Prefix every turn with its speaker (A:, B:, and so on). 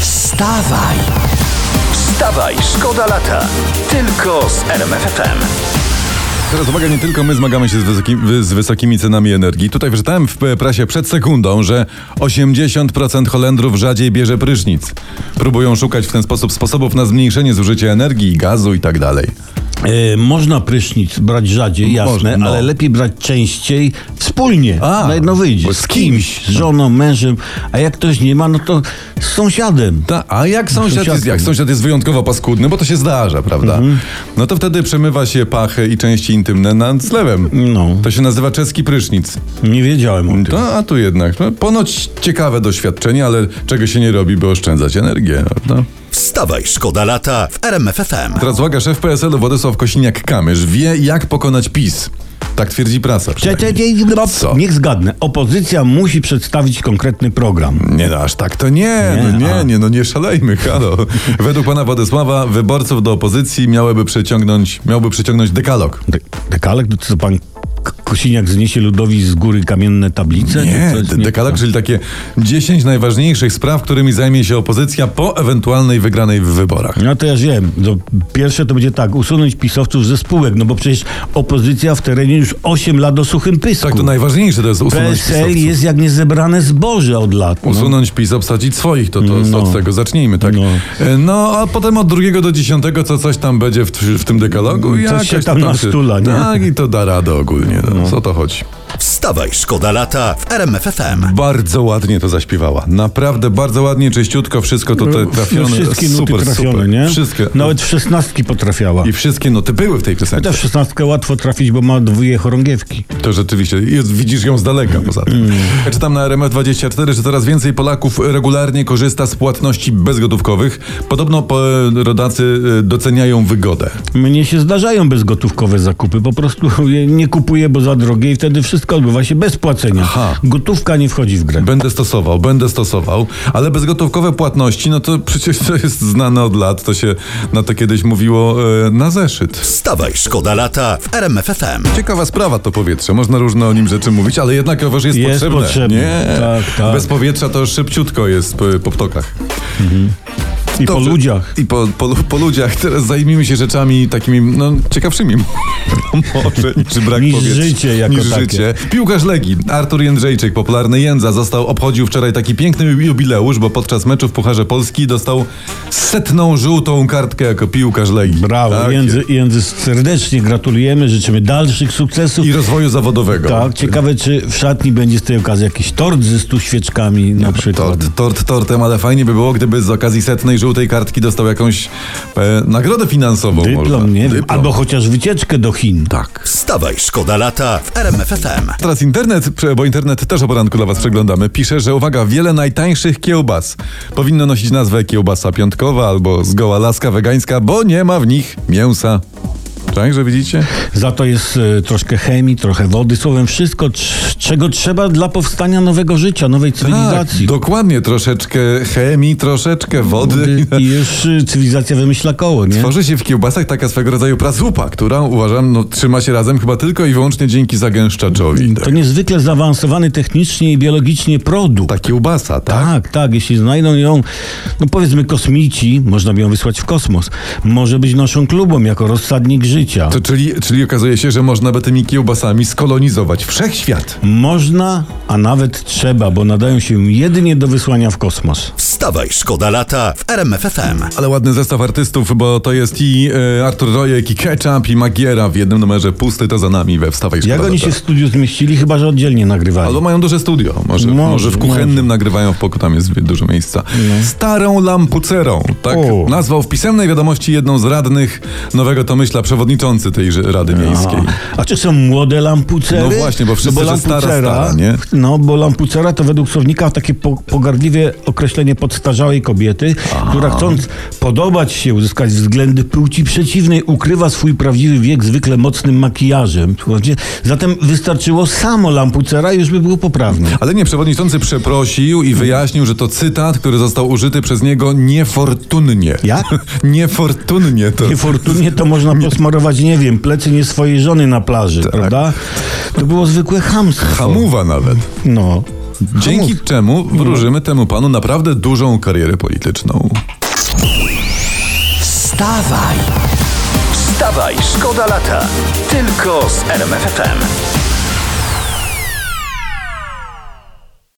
A: Wstawaj! Wstawaj, szkoda lata. Tylko z RMFFM.
B: Teraz uwaga, nie tylko my zmagamy się z, wysoki, wy- z wysokimi cenami energii. Tutaj wyczytałem w p- prasie przed sekundą, że 80% Holendrów rzadziej bierze prysznic. Próbują szukać w ten sposób sposobów na zmniejszenie zużycia energii, gazu i tak dalej.
C: E, można prysznic brać rzadziej, jasne,
B: Można, no.
C: ale lepiej brać częściej wspólnie.
B: A,
C: na jedno
B: bo
C: wyjdzie.
B: z
C: Z kimś, z żoną, mężem, a jak ktoś nie ma, no to z sąsiadem.
B: Ta, a jak sąsiad, jest,
C: Sąsiadką.
B: jak sąsiad jest wyjątkowo paskudny, bo to się zdarza, prawda? No to wtedy przemywa się pachy i części intymne nad zlewem.
C: No.
B: To się nazywa czeski prysznic.
C: Nie wiedziałem o tym.
B: To, a tu jednak, no, ponoć ciekawe doświadczenie, ale czego się nie robi, by oszczędzać energię, no prawda?
A: Wstawaj, szkoda lata w RMFFM.
B: Teraz uwaga, szef PSL-u Władysław Kosiniak-Kamysz wie, jak pokonać PiS. Tak twierdzi prasa.
C: Cze- cze-
B: przynajmniej.
C: cze-
B: No Co?
C: Niech zgadnę. Opozycja musi przedstawić konkretny program.
B: Nie no, aż tak to nie, nie, no,
C: Nie,
B: nie,
C: a.
B: nie, no nie szalejmy, halo. Według pana Władysława wyborców do opozycji miałyby przyciągnąć, miałby przyciągnąć dekalog.
C: De- dekalek, to co pan K- Kosiniak zniesie ludowi z góry kamienne tablice?
B: Nie,
C: Czy coś? tak.
B: de- dekalog, czyli takie 10 najważniejszych spraw, którymi zajmie się opozycja po ewentualnej wygranej w wyborach.
C: No to ja wiem. To pierwsze to będzie tak, usunąć pisowców ze spółek, no bo przecież opozycja w terenie już 8 lat o suchym pysku.
B: Tak, to najważniejsze to jest usunąć
C: PSL
B: PiS.
C: jest jak niezebrane zboże od lat. No.
B: Usunąć PiS, obsadzić swoich, to, to
C: No.
B: od tego zacznijmy, tak? No.
C: No.
B: no, a potem od drugiego do dziesiątego, co coś tam będzie w, w tym dekalogu?
C: Coś
B: jakaś
C: się tam nastula, nie?
B: Tak, i to da radę ogólnie, no. co to chodzi.
A: Wstawaj, szkoda lata w RMFFM.
B: Bardzo ładnie to zaśpiewała, naprawdę bardzo ładnie, czyściutko, wszystko to te trafione,
C: No, wszystkie nuty
B: super,
C: trafione,
B: super.
C: nie?
B: Wszystkie,
C: Nawet w szesnastki potrafiała.
B: I wszystkie noty były w tej piosence.
C: Chociaż w szesnastkę łatwo trafić, bo ma dwóje chorągiewki.
B: To rzeczywiście, jest, widzisz ją z daleka poza
C: Mm.
B: tym. Ja czytam na RMF24, że coraz więcej Polaków regularnie korzysta z płatności bezgotówkowych. Podobno po, rodacy e, doceniają wygodę.
C: Mnie się zdarzają bezgotówkowe zakupy. Po prostu je nie kupuję, bo za drogie i wtedy wszystko odbywa się bez płacenia.
B: Aha.
C: Gotówka nie wchodzi w grę.
B: Będę stosował, będę stosował, ale bezgotówkowe płatności, no to przecież to jest znane od lat, to się na to kiedyś mówiło e, na zeszyt.
A: Wstawaj, szkoda lata w RMFFM.
B: Ciekawa sprawa to powietrze. Można różne o nim rzeczy mówić, ale jednakowoż jest,
C: Jest
B: potrzebne.
C: potrzebne.
B: Nie.
C: Tak, tak.
B: Bez powietrza to szybciutko jest y, po, po ptokach.
C: I
B: Dobrze.
C: po ludziach.
B: I po, po, lu- po ludziach. Teraz zajmijmy się rzeczami takimi, no, ciekawszymi. Może niż brak
C: Niż
B: powietrza.
C: życie jako
B: niż
C: takie.
B: życie. Piłkarz Legii, Artur Jędrzejczyk, popularny Jędza, został, obchodził wczoraj taki piękny jubileusz, bo podczas meczu w Pucharze Polski dostał setną żółtą kartkę jako piłkarz Legii.
C: Brawo.
B: Tak
C: Jędzy, Jędzy serdecznie gratulujemy, życzymy dalszych sukcesów.
B: I rozwoju zawodowego.
C: Tak, ciekawe, czy w szatni będzie z tej okazji jakiś tort ze stu świeczkami na przykład.
B: Tort, tort tortem, ale fajnie by było, gdyby z okazji setnej żółtej kartki dostał jakąś e, nagrodę finansową. może.
C: Dyplom, nie wiem.
B: Dyplom.
C: Albo chociaż wycieczkę do Chin.
B: Tak.
A: Wstawaj, szkoda lata w RMFFM.
B: Teraz internet, prze- bo internet też o poranku dla was przeglądamy, pisze, że uwaga, wiele najtańszych kiełbas powinno nosić nazwę kiełbasa piątkowa albo zgoła laska wegańska, bo nie ma w nich mięsa. Tak, że widzicie?
C: Za to jest e, troszkę chemii, trochę wody, słowem wszystko, trz- czego trzeba dla powstania nowego życia, nowej cywilizacji.
B: Tak, dokładnie, troszeczkę chemii, troszeczkę wody.
C: I już e, cywilizacja wymyśla koło, nie?
B: Tworzy się w kiełbasach taka swego rodzaju pracupa, która uważam, no, trzyma się razem chyba tylko i wyłącznie dzięki zagęszczaczowi.
C: To niezwykle zaawansowany technicznie i biologicznie produkt.
B: Ta kiełbasa, tak?
C: Tak, tak, jeśli znajdą ją, no powiedzmy kosmici, można by ją wysłać w kosmos. Może być naszą klubą jako rozsadnik życia.
B: To czyli, czyli okazuje się, że można by tymi kiełbasami skolonizować wszechświat.
C: Można, a nawet trzeba, bo nadają się jedynie do wysłania w kosmos.
A: Wstawaj, szkoda lata w RMFFM.
B: Ale ładny zestaw artystów, bo to jest i e, Artur Rojek, i Ketchup, i Magiera w jednym numerze. Pusty to za nami we Wstawaj Szkoda
C: Jak oni
B: Lata.
C: się w studiu zmieścili, chyba że oddzielnie nagrywali.
B: Albo mają duże studio. Może, może,
C: Może, No.
B: w kuchennym nagrywają w pokoju, tam jest dużo miejsca. Starą lampucerą. Tak
C: O.
B: nazwał w pisemnej wiadomości jedną z radnych nowego Tomyśla, przewodniczący tej że- Rady Miejskiej.
C: No. A czy są młode lampucery?
B: No właśnie, bo wszyscy, że stara, stara, nie?
C: No, bo lampucera to według słownika takie po, pogardliwe określenie podstarzałej kobiety, która chcąc podobać się, uzyskać względy płci przeciwnej, ukrywa swój prawdziwy wiek zwykle mocnym makijażem. Słuchajcie, Zatem wystarczyło samo lampucera i już by było poprawne.
B: Ale nie, przewodniczący przeprosił i wyjaśnił, że to cytat, który został użyty przez niego niefortunnie.
C: Jak?
B: niefortunnie to.
C: Niefortunnie to można posmarować, nie wiem, plecy nie
B: Tak.
C: swojej żony na plaży, prawda? To było zwykłe chamstwo.
B: Hamuwa nawet.
C: No.
B: Dzięki czemu wróżymy temu panu naprawdę dużą karierę polityczną.
A: Wstawaj! Wstawaj, szkoda lata! Tylko z RMFFM.